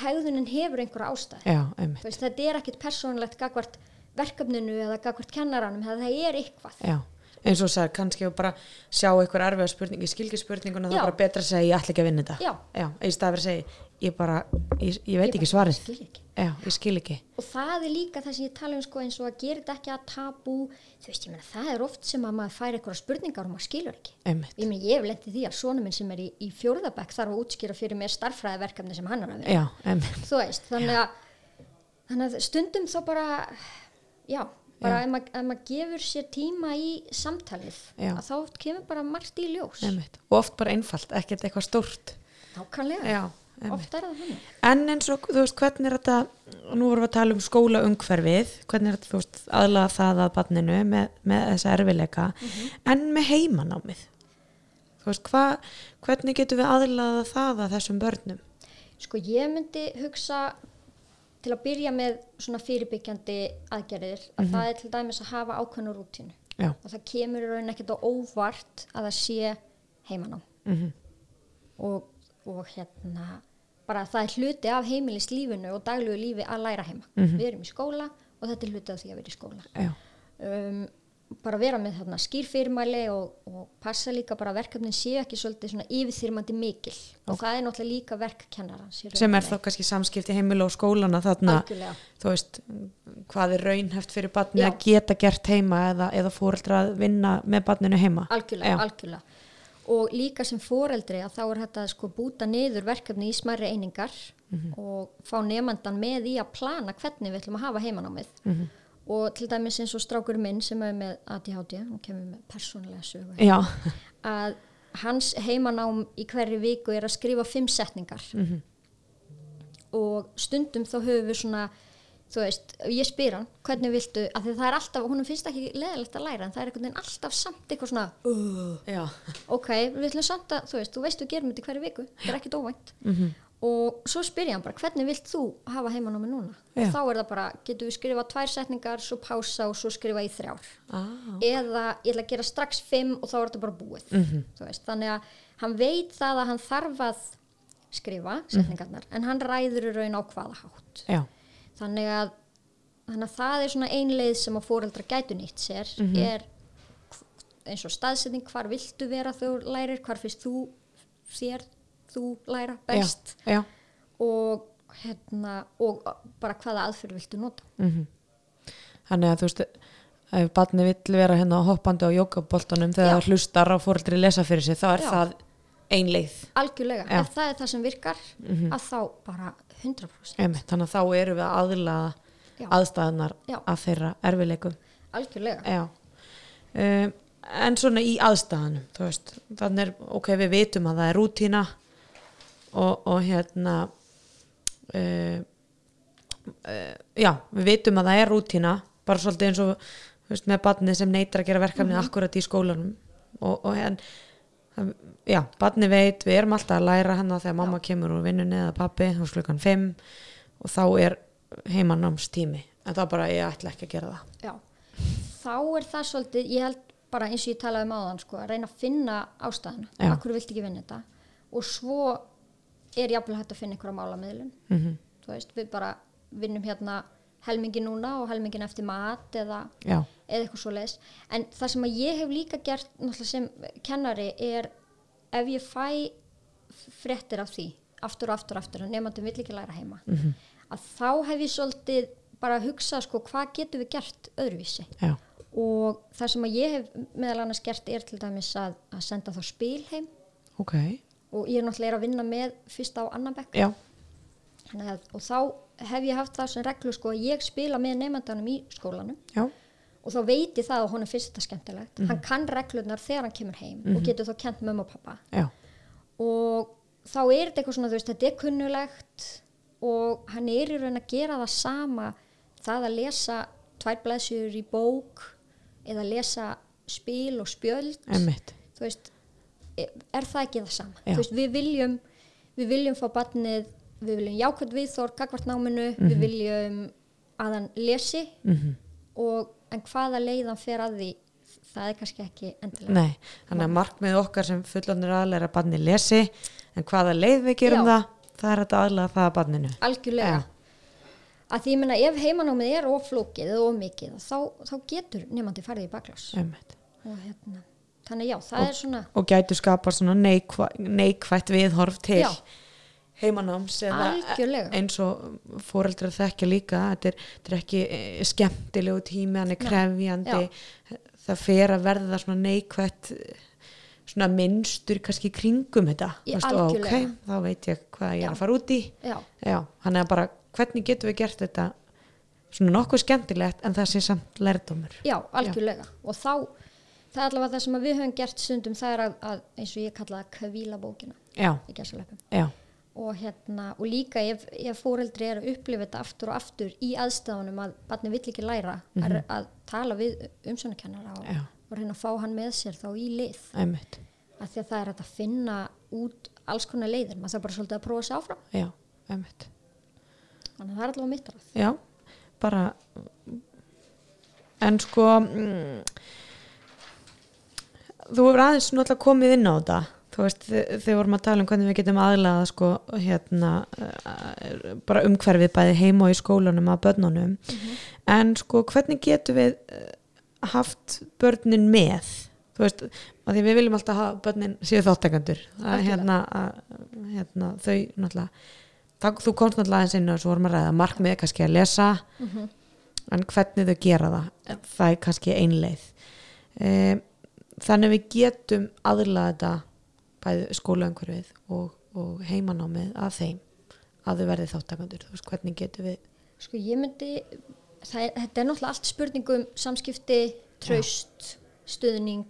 [SPEAKER 2] hegðunin hefur einhverja ástæð
[SPEAKER 1] já,
[SPEAKER 2] þú
[SPEAKER 1] einmitt,
[SPEAKER 2] veist þetta er ekkit persónlegt gagvart verkefninu eða gagvart kennaranum það, það er eitthvað
[SPEAKER 1] já. Eins og sagði, kannski ef bara sjá einhver erfiða spurning, ég skilgi spurninguna, það
[SPEAKER 2] Já.
[SPEAKER 1] er bara betra að segja, ég ætla ekki að vinna þetta.
[SPEAKER 2] Já.
[SPEAKER 1] í staði fyrir að segja, ég bara, ég, ég veit
[SPEAKER 2] Ég
[SPEAKER 1] ekki
[SPEAKER 2] bara
[SPEAKER 1] svarið.
[SPEAKER 2] skil ekki.
[SPEAKER 1] Já, ég skil ekki.
[SPEAKER 2] og það er líka það sem ég tala um sko, eins og að gera þetta ekki að tabú þú veist, ég meina, það er oft sem að maður fær eitthvað spurningar og maður skilur ekki
[SPEAKER 1] Einmitt,
[SPEAKER 2] ég meina, ég hef lendið því að sonu minn sem er í, í fjórðabæk þarf að útskýra fyrir mér starffræðiverkefni sem hann er að vera
[SPEAKER 1] já, einmitt,
[SPEAKER 2] þú veist, þannig að, þannig að stundum þá bara já, bara ef maður mað gefur sér tíma í samtalið
[SPEAKER 1] Já.
[SPEAKER 2] að þá kemur bara margt í ljós
[SPEAKER 1] Einmitt. og oft bara einfalt, ekkert eitthvað stórt
[SPEAKER 2] nákvæmlega,
[SPEAKER 1] já, einmitt.
[SPEAKER 2] oft er það hann
[SPEAKER 1] en eins og þú veist, hvernig er þetta nú vorum við að tala um skólaungverfið hvernig er þetta, þú veist, aðlaða það að barninu með, með þessa erfileika en með heimanámið þú veist, hva, hvernig getum við aðlaða það að þessum börnum
[SPEAKER 2] sko ég myndi hugsa til að byrja með svona fyrirbyggjandi aðgerðir að
[SPEAKER 1] Mhm.
[SPEAKER 2] það er til dæmis að hafa ákveðnu rútínu
[SPEAKER 1] já,
[SPEAKER 2] og það kemur í raun ekkert á óvart að það sé heimanám
[SPEAKER 1] Mhm.
[SPEAKER 2] og, og hérna bara það er hluti af heimilislífinu og daglegu lífi að læra heima
[SPEAKER 1] Mhm.
[SPEAKER 2] við erum í skóla og þetta er hluti af því að vera í skóla
[SPEAKER 1] já,
[SPEAKER 2] um, bara vera með þarna skýrfyrirmæli og, og passa líka bara að verkefnin séu ekki svolítið svona yfirþyrmandi mikil og það er náttúrulega líka verkkennarans í raun
[SPEAKER 1] sem
[SPEAKER 2] og
[SPEAKER 1] er þá
[SPEAKER 2] veru.
[SPEAKER 1] kannski samskipti heimil og skólana þarna
[SPEAKER 2] Algjörlega.
[SPEAKER 1] þú veist, hvað er raunheft fyrir barnið
[SPEAKER 2] Já.
[SPEAKER 1] að geta gert heima eða, eða fóreldra að vinna með barninu heima
[SPEAKER 2] algjörlega,
[SPEAKER 1] já,
[SPEAKER 2] algjörlega og líka sem foreldri að þá er þetta sko búta niður verkefni í smærri einingar og fá nefandan með í að plana hvernig við ætlum að hafa heimanámið og til dæmis eins og strákur minn sem er með ADHD, hún kemur með persónulega sögu
[SPEAKER 1] já,
[SPEAKER 2] að hans heimanám í hverju viku er að skrifa fimm setningar -hmm. og stundum þá höfum við svona þú veist, ég spyr hann hvernig viltu, af því það er alltaf, hún finnst ekki leðalegt að læra en það er einhvern veginn alltaf samt eitthvað svona "Ugh."
[SPEAKER 1] já.
[SPEAKER 2] ok, við ætlum samt að, þú veist, þú veist við gerum þetta í hverju viku, það er ekkert óvænt -hmm. og svo spyr ég hann bara, hvernig vilt þú hafa heimanámi núna?
[SPEAKER 1] Já.
[SPEAKER 2] og þá er það bara, getum við skrifa tvær setningar svo pása og svo skrifa í þrjár
[SPEAKER 1] Ah,
[SPEAKER 2] eða ég ætla að gera strax fimm og þá er þetta bara búið
[SPEAKER 1] Mhm.
[SPEAKER 2] Þú veist, þannig að hann veit það að hann þarf að skrifa setningarnar
[SPEAKER 1] Mhm.
[SPEAKER 2] en hann ræður í raun á hvaða hátt
[SPEAKER 1] já,
[SPEAKER 2] þannig að, þannig að það er svona ein leið sem að fóreldra gætu nýtt sér
[SPEAKER 1] Mhm.
[SPEAKER 2] er eins og staðsetning hvar viltu vera þegar þú lærir hvar finnst þú þér þú læra best
[SPEAKER 1] já, já.
[SPEAKER 2] og hérna og bara hvaða aðferð viltu nota
[SPEAKER 1] Þannig að þú veist, ef barni vill vera hérna hoppandi á jókaboltanum þegar
[SPEAKER 2] Já.
[SPEAKER 1] það hlustar á fóreldri lesa fyrir sig, þá er
[SPEAKER 2] Já.
[SPEAKER 1] það ein leið. Já.
[SPEAKER 2] algjörlega,
[SPEAKER 1] Mhm.
[SPEAKER 2] ef það er það sem virkar að þá bara 100%
[SPEAKER 1] Einmitt. Þannig að þá eru við að aðlaða
[SPEAKER 2] Já.
[SPEAKER 1] aðstæðunar
[SPEAKER 2] Já.
[SPEAKER 1] að þeirra erfileikum.
[SPEAKER 2] algjörlega,
[SPEAKER 1] Já. Um, en svona í aðstæðanum, þú veist, þannig er, ok, við vitum að það er rútína og, og hérna, um, uh, já, við vitum að það er rútína, bara svolítið eins og, þú veist, með barnið sem neytar að gera verkefnið akkurat í skólanum og, og en, það- já, barnið veit, við erum alltaf að læra hana þegar mamma kemur úr vinnunni eða pappi, þá er klukkan 5 og þá er heimanámstími, en það bara, ég ætla ekki að gera það.
[SPEAKER 2] já þá er það svolítið, ég held bara eins og ég talaði um áðan, sko, að reyna að finna ástæðuna,
[SPEAKER 1] Já.
[SPEAKER 2] akkur vilt ekki vinna þetta og svo er jafnvel hægt að finna einhverja málamiðlun
[SPEAKER 1] Mm
[SPEAKER 2] þú veist, við bara vinnum hérna helmingi núna og helmingin eftir mat eða,
[SPEAKER 1] Já.
[SPEAKER 2] eða eitthvað svo leis en það sem að ég hef líka gert náttúrulega sem kennari er ef ég fæ fréttir af því aftur og aftur og aftur að nefndum vill ekki læra heima -hmm. að þá hef ég svolítið bara að hugsa sko hvað getum við gert öðruvísi
[SPEAKER 1] Já,
[SPEAKER 2] og það sem að ég hef meðal annars gert er til dæmis að, að senda þá spil heim
[SPEAKER 1] ok.
[SPEAKER 2] og ég er náttúrulega er að vinna með fyrsta á annan bekk
[SPEAKER 1] Já,
[SPEAKER 2] Þannig að, og þá hef ég haft það sem reglu sko að ég spila með nefndanum í skólanum
[SPEAKER 1] já,
[SPEAKER 2] og þá veit ég það að honum finnst þetta skemmtilegt hann kann reglurnar þegar hann kemur heim og getur þá kent mömmu og pappa
[SPEAKER 1] já,
[SPEAKER 2] og þá er þetta eitthvað svona þú veist þetta er kunnulegt og hann er í raun að gera það sama það að lesa tvær blæsjur í bók eða lesa spil og spjöld
[SPEAKER 1] emmitt.
[SPEAKER 2] þú veist, er það ekki það sama
[SPEAKER 1] Já.
[SPEAKER 2] þú veist, við viljum við viljum fá barnið, við viljum jákvæmt viðþór gagvart náminu,
[SPEAKER 1] Mhm.
[SPEAKER 2] við viljum að hann lesi -hmm. og en hvaða leiðan fer að því það er kannski ekki endilega
[SPEAKER 1] Nei, þannig að markmið okkar sem fullanir aðal er að barni lesi, en hvaða leið við gerum
[SPEAKER 2] Já.
[SPEAKER 1] það, það er þetta aðlega það að barninu.
[SPEAKER 2] algjörlega
[SPEAKER 1] Já.
[SPEAKER 2] að því ég meina ef heimanámið er oflókið og mikið þá, þá getur nefnandi farið í baklás
[SPEAKER 1] Emmitt.
[SPEAKER 2] og hérna, þannig já, það er svona
[SPEAKER 1] Og gætu skapar svona neikvæ, neikvætt viðhorf til
[SPEAKER 2] Já.
[SPEAKER 1] heimanáms eða
[SPEAKER 2] Algjörlega.
[SPEAKER 1] eins og fóreldrar þekkja líka, þetta er, þetta er ekki eh, skemmtilegu tími, hann er krefjandi, það fer að verða svona neikvætt eh, svona minnstur kannski í kringum þetta.
[SPEAKER 2] Í
[SPEAKER 1] Þú veist,
[SPEAKER 2] algjörlega.
[SPEAKER 1] Ok, þá veit ég hvað ég er að fara út í.
[SPEAKER 2] já,
[SPEAKER 1] Já, hann er bara, hvernig getum við gert þetta svona nokkuð skemmtilegt en það sé samt lærdómur
[SPEAKER 2] Já, algjörlega. Og þá, það er allavega það sem að við höfum gert stundum, það er að, að eins og ég kalla það kvíla bókina
[SPEAKER 1] já,
[SPEAKER 2] í gæsaleppum.
[SPEAKER 1] já,
[SPEAKER 2] Og, hérna, og líka ef, ef fóreldri er að upplifa þetta aftur og aftur í aðstæðunum að barni vill ekki læra að, að tala við umsjónakennara og,
[SPEAKER 1] Já.
[SPEAKER 2] og reyna að fá hann með sér þá í lið.
[SPEAKER 1] einmitt
[SPEAKER 2] Af því að það er hægt að finna út alls konar leiðir, maður þarf bara svolítið að prófa sér áfram.
[SPEAKER 1] já, einmitt
[SPEAKER 2] Þannig að það er allavega mitt ráð.
[SPEAKER 1] já, bara en sko mm, þú hefur aðeins náttúrulega komið inn á þetta þú veist, þe- þegar vorum að tala um hvernig við getum aðlaða sko, hérna eh, bara umhverfið bæði heim og í skólanum að börnunum en sko, hvernig getum við eh, haft börnin með þú veist, að því við viljum alltaf hafa börnin síðu þáttakandur að,
[SPEAKER 2] Algjörlega.
[SPEAKER 1] hérna, að, hérna, þau náttúrulega það, þú komst náttúrulega aðeins inn og svo vorum að ræða markmið kannski að lesa Mhm. en hvernig þau gera það það er kannski einleið um, þannig við getum aðlaða þetta bæði skólaumhverfið og, og heimanámið að þeim að þau verði þáttakandur þú veist hvernig getum við
[SPEAKER 2] Sko ég myndi, það, er- þetta er náttúrulega allt spurningum samskipti, tröst, stuðning.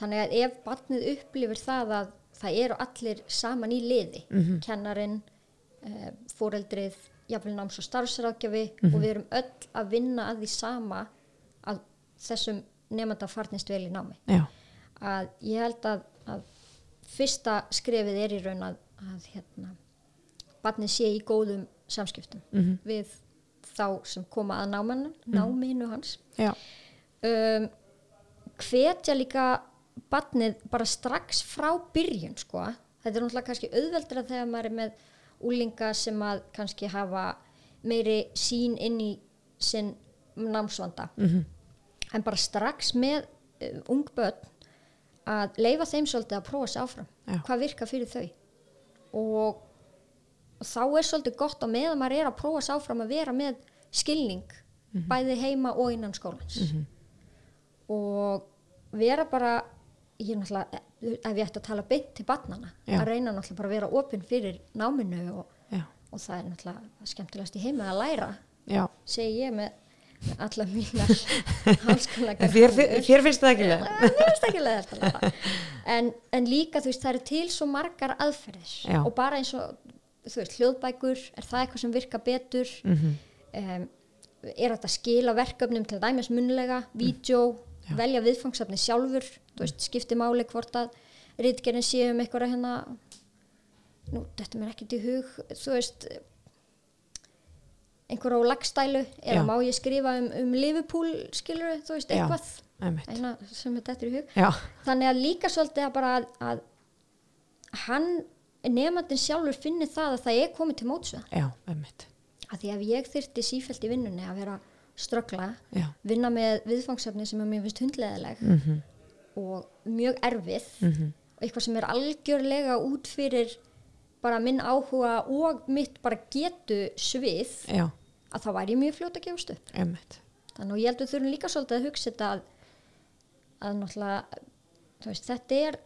[SPEAKER 2] Þannig að ef barnið upplifir það að það eru allir saman í liði, kennarin, eh, fóreldrið, jafnvel náms og starfsrákjafi og við erum öll að vinna að því sama að þessum nefnda farnist vel í námi.
[SPEAKER 1] já,
[SPEAKER 2] að ég held að, að fyrsta skrefið er í raun að, að hérna, barnið sé í góðum samskiptum -hmm. við þá sem koma að námanu, náminu hans
[SPEAKER 1] já,
[SPEAKER 2] um, hvetja líka barnið bara strax frá byrjun sko. þetta er náttúrulega kannski auðveldra þegar maður er með úlinga sem að kannski hafa meiri sín inn í sinn námsvanda -hmm. en bara strax með um, ung börn að leifa þeim svolítið að prófa sér áfram
[SPEAKER 1] Já.
[SPEAKER 2] hvað virka fyrir þau og og þá er svolítið gott á meðan maður er að prófa sér áfram að vera með skilning
[SPEAKER 1] Mhm.
[SPEAKER 2] bæði heima og innan skólans og vera bara ég er náttúrulega, ef ég ætti að tala beint til barnana,
[SPEAKER 1] Já.
[SPEAKER 2] að reyna náttúrulega bara að vera opinn fyrir náminu og,
[SPEAKER 1] já,
[SPEAKER 2] og það er náttúrulega skemmtilegast í heima að læra,
[SPEAKER 1] já.
[SPEAKER 2] segi ég með með alla
[SPEAKER 1] [laughs]
[SPEAKER 2] mínar háskóla
[SPEAKER 1] En Þér, þér, þér finnst það ekki leið [laughs]
[SPEAKER 2] Mér finnst ekki leiðilegt að læra. en, en líka þú veist það eru til svo margar aðferðir
[SPEAKER 1] Já.
[SPEAKER 2] og bara eins og þú veist hljóðbækur er það eitthvað sem virka betur mm
[SPEAKER 1] Mhm.
[SPEAKER 2] er þetta skila verkefnum til dæmis munlega, vídeo velja viðfangsefni sjálfur þú veist skipti máli hvort að rítgerinn sé um eitthvað hérna nú þetta mér ekkert í hug þú veist einhverja á lagstælu eða
[SPEAKER 1] Já.
[SPEAKER 2] má ég skrifa um, um Liverpool skilur þú veist
[SPEAKER 1] Já.
[SPEAKER 2] eitthvað
[SPEAKER 1] Einmitt.
[SPEAKER 2] eina sem þetta er í hug
[SPEAKER 1] já,
[SPEAKER 2] þannig að líka svolítið að bara að, að hann nefnandinn sjálfur finni það að það er komið til mótsveða
[SPEAKER 1] já, emmitt
[SPEAKER 2] að því ef ég þyrti sífælt í vinnunni að vera ströggla,
[SPEAKER 1] já,
[SPEAKER 2] vinna með viðfangsefni sem að mér finnst hundleðileg og mjög erfið og eitthvað sem er algjörlega út fyrir bara minn áhuga og mitt bara getu svið
[SPEAKER 1] já,
[SPEAKER 2] að þá væri ég mjög fljót að gefast upp
[SPEAKER 1] emmitt
[SPEAKER 2] þannig og ég held við þurfum líka svolítið að hugsa þetta að, að náttúrulega þú veist, þetta er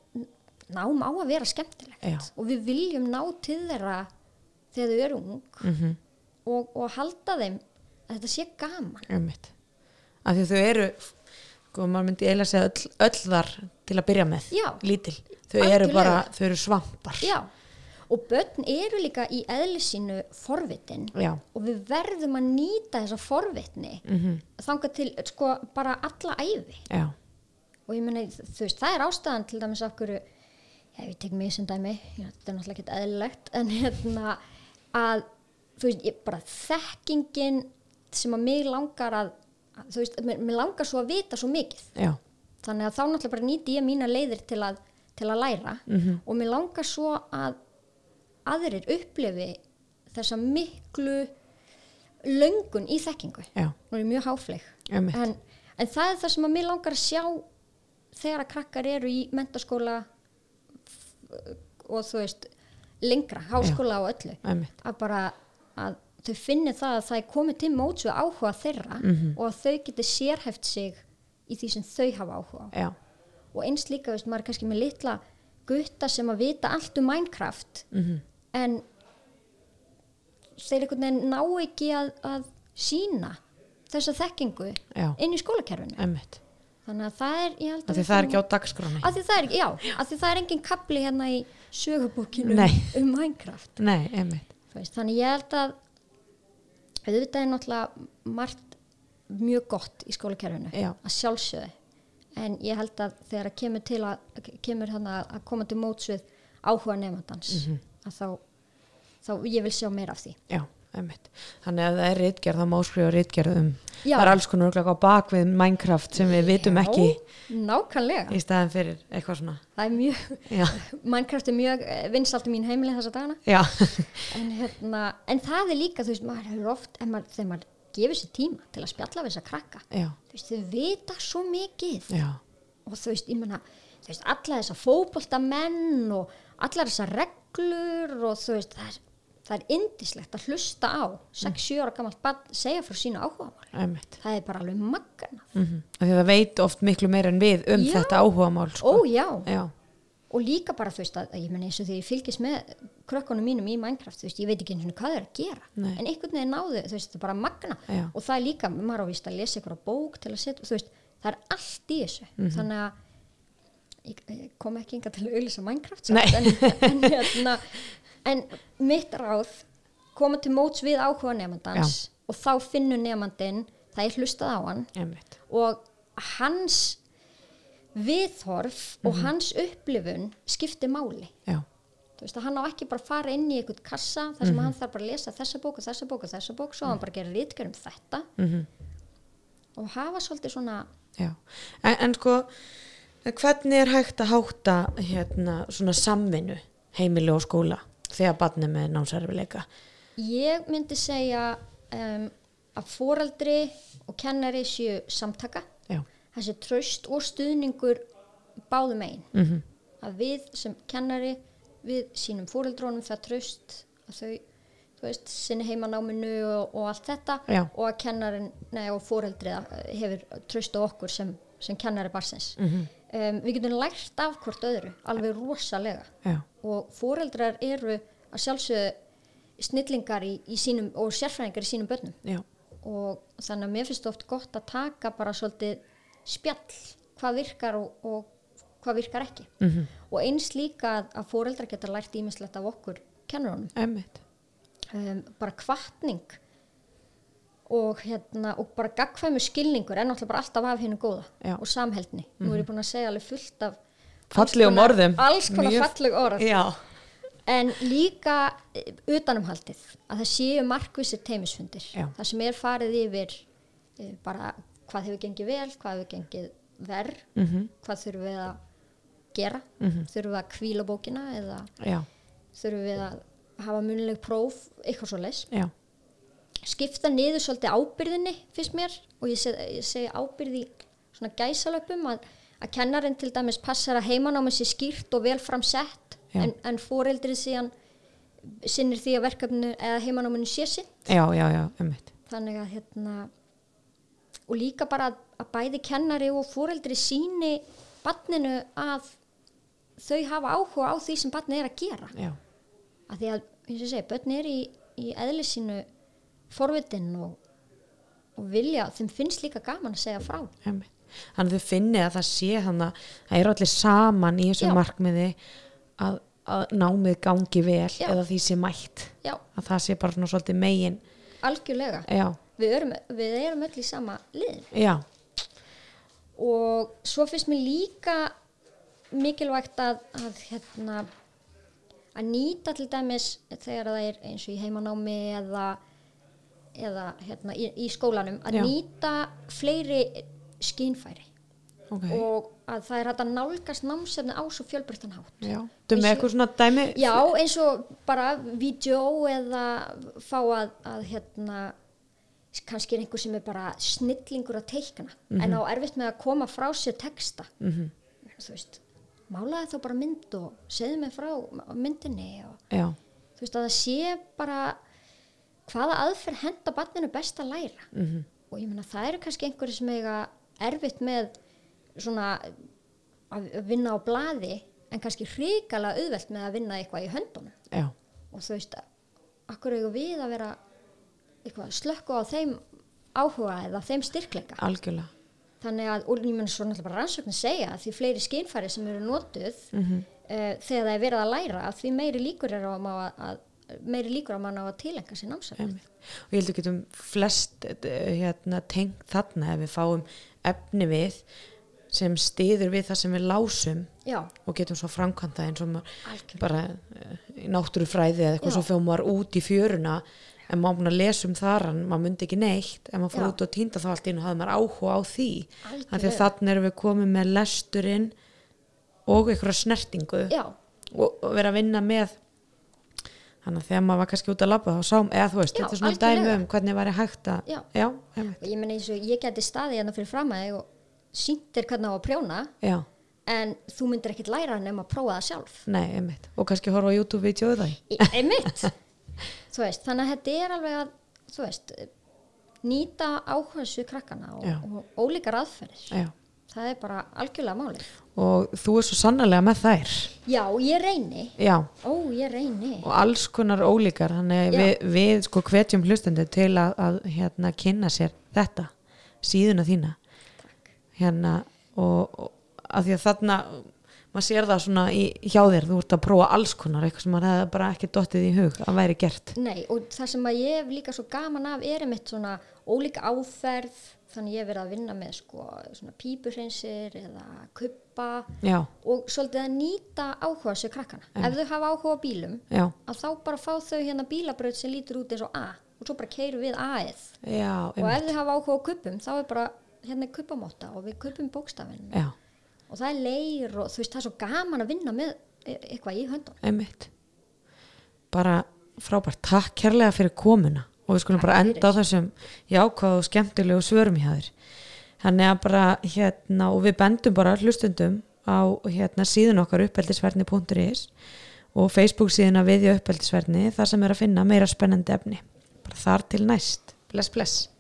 [SPEAKER 2] nám á að vera skemmtilegt
[SPEAKER 1] Já.
[SPEAKER 2] og við viljum ná til þeirra þegar þau eru ung -hmm. og, og halda þeim að þetta sé gaman
[SPEAKER 1] Einmitt. Af því að þau eru, sko, maður myndi eiginlega segja öll, öll þar til að byrja með,
[SPEAKER 2] Já.
[SPEAKER 1] lítil. Þau eru
[SPEAKER 2] Algjörlega.
[SPEAKER 1] bara, þau eru svampar.
[SPEAKER 2] Já. og börn eru líka í eðlisínu forvitin
[SPEAKER 1] Já,
[SPEAKER 2] og við verðum að nýta þessa forvitni -hmm. þangað til sko, bara alla æfi
[SPEAKER 1] já,
[SPEAKER 2] og ég meina, þú veist, það er ástæðan til dæmis af hverju, já, ég tek mig sem dæmi, já, þetta er náttúrulega ekkert eðlilegt en hérna að þú veist, ég bara þekkingin sem að mig langar að að, þú veist, mér, mér langar svo að vita svo mikið
[SPEAKER 1] já,
[SPEAKER 2] þannig að þá náttúrulega bara nýti ég mína leiðir til að, til að læra -hmm. og mér langar svo að aðrir upplifi þessa miklu löngun í þekkingu
[SPEAKER 1] já,
[SPEAKER 2] nú er ég mjög háfleg
[SPEAKER 1] Einmitt.
[SPEAKER 2] en, en það er það sem að mér langar að sjá þegar að krakkar eru í mentaskóla og þú veist lengra, háskóla og öllu
[SPEAKER 1] einmitt.
[SPEAKER 2] að bara að þau finni það að það er komið til móts við áhuga þeirra og að þau geti sérhæft sig í því sem þau hafa áhuga á
[SPEAKER 1] Já,
[SPEAKER 2] og eins líka, veist, maður er kannski með litla gutta sem að vita allt um Minecraft -hmm. en þeir einhvern veginn ná ekki að, að sína þessa þekkingu
[SPEAKER 1] já,
[SPEAKER 2] inn í skólakerfinu.
[SPEAKER 1] emmitt
[SPEAKER 2] Þannig að það er, ég held
[SPEAKER 1] af
[SPEAKER 2] að
[SPEAKER 1] því
[SPEAKER 2] við
[SPEAKER 1] það er
[SPEAKER 2] þurfum
[SPEAKER 1] ekki á dagskráni
[SPEAKER 2] að því það er ekki, já, að því það er engin kapli hérna í sögubókinu
[SPEAKER 1] Nei.
[SPEAKER 2] um Minecraft
[SPEAKER 1] nei, emmitt,
[SPEAKER 2] Þú veist, þannig ég held að auðvitað er náttúrulega margt mjög gott í skólakerfinu
[SPEAKER 1] Já.
[SPEAKER 2] að sjálfsögðu en ég held að þegar að kemur til að kemur hann að að koma til mótsvið áhuga nefndans
[SPEAKER 1] Mhm.
[SPEAKER 2] að þá, þá ég vil sjá meira af því
[SPEAKER 1] já, emmitt þannig að ef það er rítgerð, þá má skrifa rítgerð um
[SPEAKER 2] Já.
[SPEAKER 1] það er alls konar örugglega á bakvið Minecraft sem við vitum
[SPEAKER 2] Já,
[SPEAKER 1] ekki
[SPEAKER 2] nákvæmlega,
[SPEAKER 1] í staðan fyrir eitthvað svona
[SPEAKER 2] það er mjög
[SPEAKER 1] já,
[SPEAKER 2] [laughs] Minecraft er mjög vinsalt í mín heimili þessa dagana
[SPEAKER 1] já,
[SPEAKER 2] en, hérna, en það er líka, þú veist, maður hefur oft en maður, þegar maður gefur sér tíma til að spjalla við þess að krakka,
[SPEAKER 1] [laughs] já,
[SPEAKER 2] þú veist, þau vita svo mikið
[SPEAKER 1] já,
[SPEAKER 2] og þú veist, ég menna þú veist, alla þessa fótboltamenn og allar þessa reglur og þú veist, það er, það er indislegt að hlusta á 6-7 ára gamalt barn segja frá sína áhugamáli
[SPEAKER 1] emmitt
[SPEAKER 2] það er bara alveg magna
[SPEAKER 1] mm af því það veit oft miklu meira en við um
[SPEAKER 2] Já.
[SPEAKER 1] þetta áhugamál sko.
[SPEAKER 2] ó já,
[SPEAKER 1] já,
[SPEAKER 2] og líka bara þú veist að ég menna eins og þegar ég fylgist með krökkunum mínum í Minecraft, þú veist, ég veit ekki einu sinni hvað það er að gera,
[SPEAKER 1] Nei.
[SPEAKER 2] en einhvern veginn náðu þú veist, það er bara magna
[SPEAKER 1] Já.
[SPEAKER 2] og það er líka, maður á víst að lesa ykkur á bók til að setja, þú veist, það er allt í þessu
[SPEAKER 1] Mhm.
[SPEAKER 2] þannig að ég, ég kom ekki enga til að auðlýsa Minecraft samt,
[SPEAKER 1] Nei.
[SPEAKER 2] en, en, hérna, en mitt ráð koma til móts við áhuga nefndans og þá finnur nefndin það er hlustað á hann
[SPEAKER 1] emmitt
[SPEAKER 2] og hans viðhorf og hans upplifun skipti máli
[SPEAKER 1] já,
[SPEAKER 2] þú veist að hann á ekki bara að fara inn í einhvern kassa þar sem hann þarf bara að lesa þessa bók og þessa bók og þessa bók svo á hann bara að gera rítgjör um þetta
[SPEAKER 1] Mhm.
[SPEAKER 2] og hafa svolítið svona
[SPEAKER 1] já en, en sko hvernig er hægt að hátta hérna svona samvinnu heimili og skóla þegar barnið með námsverfileika
[SPEAKER 2] ég myndi segja um, að foreldri og kennari séu samtaka
[SPEAKER 1] já,
[SPEAKER 2] þessi tröst og stuðningur báðum einn
[SPEAKER 1] mm
[SPEAKER 2] að við sem kennari við sínum fóreldrónum það tröst að þau, þú veist, sinni heimanáminu og, og allt þetta
[SPEAKER 1] Já.
[SPEAKER 2] og að kennarin, nei og fóreldrið hefur tröst á okkur sem, sem kennari barsins.
[SPEAKER 1] Mhm.
[SPEAKER 2] um, við getum lært af hvort öðru, alveg rosalega
[SPEAKER 1] já,
[SPEAKER 2] og fóreldrar eru að sjálfsögðu snillingar í, í sínum og sérfræðingar í sínum börnum
[SPEAKER 1] já,
[SPEAKER 2] og þannig að mér finnst oft gott að taka bara svolítið spjall hvað virkar og, og hvað virkar ekki
[SPEAKER 1] mm
[SPEAKER 2] og eins líka að, að fóreldrar geta lært ímislegt af okkur kennurunum
[SPEAKER 1] emmitt
[SPEAKER 2] um, bara kvartning og, hérna, og bara gagkvæmu skilningur en náttúrulega bara alltaf af hennu góða
[SPEAKER 1] Já. Mhm.
[SPEAKER 2] og samheldni, nú er ég búin að segja alveg fullt af
[SPEAKER 1] fallegum
[SPEAKER 2] alls konar-
[SPEAKER 1] orðum
[SPEAKER 2] alls konar
[SPEAKER 1] Mjög-
[SPEAKER 2] falleg orð
[SPEAKER 1] já,
[SPEAKER 2] En líka eh, utanumhaldið, að það séu markvissir teimisfundir.
[SPEAKER 1] Já.
[SPEAKER 2] Það sem er farið yfir eh, bara hvað hefur gengið vel, hvað hefur gengið verð,
[SPEAKER 1] Mhm.
[SPEAKER 2] hvað þurfum við að gera, -hmm. þurfum við að kvíla bókina eða
[SPEAKER 1] já,
[SPEAKER 2] þurfum við að hafa munleg próf, eitthvað svo leis.
[SPEAKER 1] já,
[SPEAKER 2] Skipta niður svolítið ábyrðinni, finnst mér, og ég seg- ég segi ábyrði í svona gæsalöpum að, að kennarinn til dæmis passar að heimanámið sé skýrt og vel framsett,
[SPEAKER 1] Já.
[SPEAKER 2] en, en foreldrið síðan sinnir því að verkefnu eða heimanáminu sé sinn
[SPEAKER 1] já, já, já emmitt
[SPEAKER 2] þannig að hérna og líka bara að, að bæði kennari og foreldri síni barninu að þau hafa áhuga á því sem barnið er að gera
[SPEAKER 1] já,
[SPEAKER 2] að því að, eins og ég segi, börn er í, í eðli sínu forvitin og, og vilja þeim finnst líka gaman að segja frá
[SPEAKER 1] Einmitt. Þannig að þau finni að það sé þannig að það eru allir saman í þessu
[SPEAKER 2] Já.
[SPEAKER 1] markmiði að, að námið gangi vel
[SPEAKER 2] Já.
[SPEAKER 1] eða því sé mætt
[SPEAKER 2] já,
[SPEAKER 1] að það sé bara svona svolítið megin
[SPEAKER 2] algjörlega
[SPEAKER 1] já,
[SPEAKER 2] við erum, við erum öll í sama liðin
[SPEAKER 1] já,
[SPEAKER 2] og svo finnst mér líka mikilvægt að, að hérna að nýta til dæmis þegar það er eins og í heimanámi eða, eða hérna í, í skólanum að
[SPEAKER 1] Já.
[SPEAKER 2] nýta fleiri skínfæri
[SPEAKER 1] ok
[SPEAKER 2] og að það er hægt að nálgast námsefni á svo fjölbreyttan hátt
[SPEAKER 1] já. Þú með
[SPEAKER 2] Vissi-
[SPEAKER 1] eitthvað svona dæmi
[SPEAKER 2] Já, eins og bara vídeo eða fá að, að hérna, kannski er einhver sem er bara snillingur að teikna en á erfitt með að koma frá sér texta
[SPEAKER 1] Mhm.
[SPEAKER 2] þú veist, málaði þá bara mynd og segði mig frá myndinni og
[SPEAKER 1] já,
[SPEAKER 2] þú veist að það sé bara hvaða aðferð henda barninu best að læra -hmm. og ég meina það eru kannski einhverju sem eiga erfitt með svona að vinna á blaði en kannski hrikalega auðvelt með að vinna eitthvað í höndunum
[SPEAKER 1] já,
[SPEAKER 2] og þú veist, akkur eigum við að vera eitthvað slökku á þeim áhuga eða þeim styrkleika.
[SPEAKER 1] algjörlega
[SPEAKER 2] Þannig að, og ég menn svo náttúrulega bara rannsóknir segja að því fleiri skinnfæri sem eru notuð
[SPEAKER 1] Mhm.
[SPEAKER 2] uh, þegar það er verið að læra að því meiri líkur er á að, að, að meiri líkur á að mann á að tilenga sér námsefni.
[SPEAKER 1] Einmitt. og ég held að getum flest eh, hérna, tengt þarna ef við fáum efni við sem stiður við það sem við lásum
[SPEAKER 2] Já,
[SPEAKER 1] og getum svo framkvæmt það eins og maður
[SPEAKER 2] algjörlega.
[SPEAKER 1] bara eh, í náttúrufræði eða eitthvað
[SPEAKER 2] Já.
[SPEAKER 1] svo fyrir maður út í fjöruna en maður búin að lesa um þar en maður myndi ekki neitt en maður fór
[SPEAKER 2] Já.
[SPEAKER 1] út og týnda þá allt inn og hafði maður áhuga á því Af því að
[SPEAKER 2] Algjörlega.
[SPEAKER 1] þannig erum við komið með lesturinn og einhverja snertingu
[SPEAKER 2] Já,
[SPEAKER 1] og, og vera að vinna með þannig að þegar maður var kannski út að labba þá sáum, eða þú veist,
[SPEAKER 2] Já,
[SPEAKER 1] þetta er svona
[SPEAKER 2] algjörlega.
[SPEAKER 1] dæmi um hvernig væri hægt að
[SPEAKER 2] Já.
[SPEAKER 1] já, einmitt.
[SPEAKER 2] og ég menn eins og ég geti staðið hérna fyrir fram að þig og sínt er hvernig á að prjóna
[SPEAKER 1] já,
[SPEAKER 2] en þú myndir ekkit læra nema að prófa það sjálf.
[SPEAKER 1] nei, einmitt og kannski horfa á YouTube-vídeóðu það
[SPEAKER 2] Í-
[SPEAKER 1] [laughs]
[SPEAKER 2] einmitt þú veist, þannig að þetta er alveg að þú veist, nýta áhersu krakkana
[SPEAKER 1] Já.
[SPEAKER 2] og, og ólíkar aðferðir
[SPEAKER 1] já.
[SPEAKER 2] það er bara algjörlega máli
[SPEAKER 1] og þú er svo sannarlega með þær
[SPEAKER 2] já, ég reyni
[SPEAKER 1] já,
[SPEAKER 2] ó, ég reyni
[SPEAKER 1] og alls konar ólíkar þannig að
[SPEAKER 2] Já.
[SPEAKER 1] við, við sko hvetjum hlustendur til að, að hérna kynna sér þetta, síðuna þína hérna og, og að því að þarna maður sér það svona í, hjá þér þú ert að prófa alls konar, eitthvað sem maður hefði bara ekki dottið í hug að væri gert
[SPEAKER 2] Nei, og það sem að ég hef líka svo gaman af er mitt svona ólíka áferð þannig ég hef verið að vinna með sko, svona pípuhreinsir eða kuppa
[SPEAKER 1] já,
[SPEAKER 2] og svolítið að nýta áhuga sér krakkana ef þau hafa áhuga á bílum
[SPEAKER 1] já,
[SPEAKER 2] að þá bara fá þau hérna bílabraut sem lítur út eins og A og svo bara keirum við A-ið
[SPEAKER 1] já,
[SPEAKER 2] og
[SPEAKER 1] einmitt.
[SPEAKER 2] ef þau hafa áhuga á kuppum þá er bara hérna er kuppamotta og við kuppum bókstafinn
[SPEAKER 1] já,
[SPEAKER 2] og það er leir og þú veist það er svo gaman að vinna með e- eitthvað í höndun
[SPEAKER 1] einmitt bara frábært, takk kærlega fyrir komuna og við skulum bara
[SPEAKER 2] Takk
[SPEAKER 1] enda á þessum jákvæð og skemmtilegu svörum hjá þér þannig að bara hérna og við bendum bara hlustundum á hérna síðun okkar uppeldisverðni.is og Facebook síðuna við í uppeldisverðni þar sem er að finna meira spennandi efni bara þar til næst, bless bless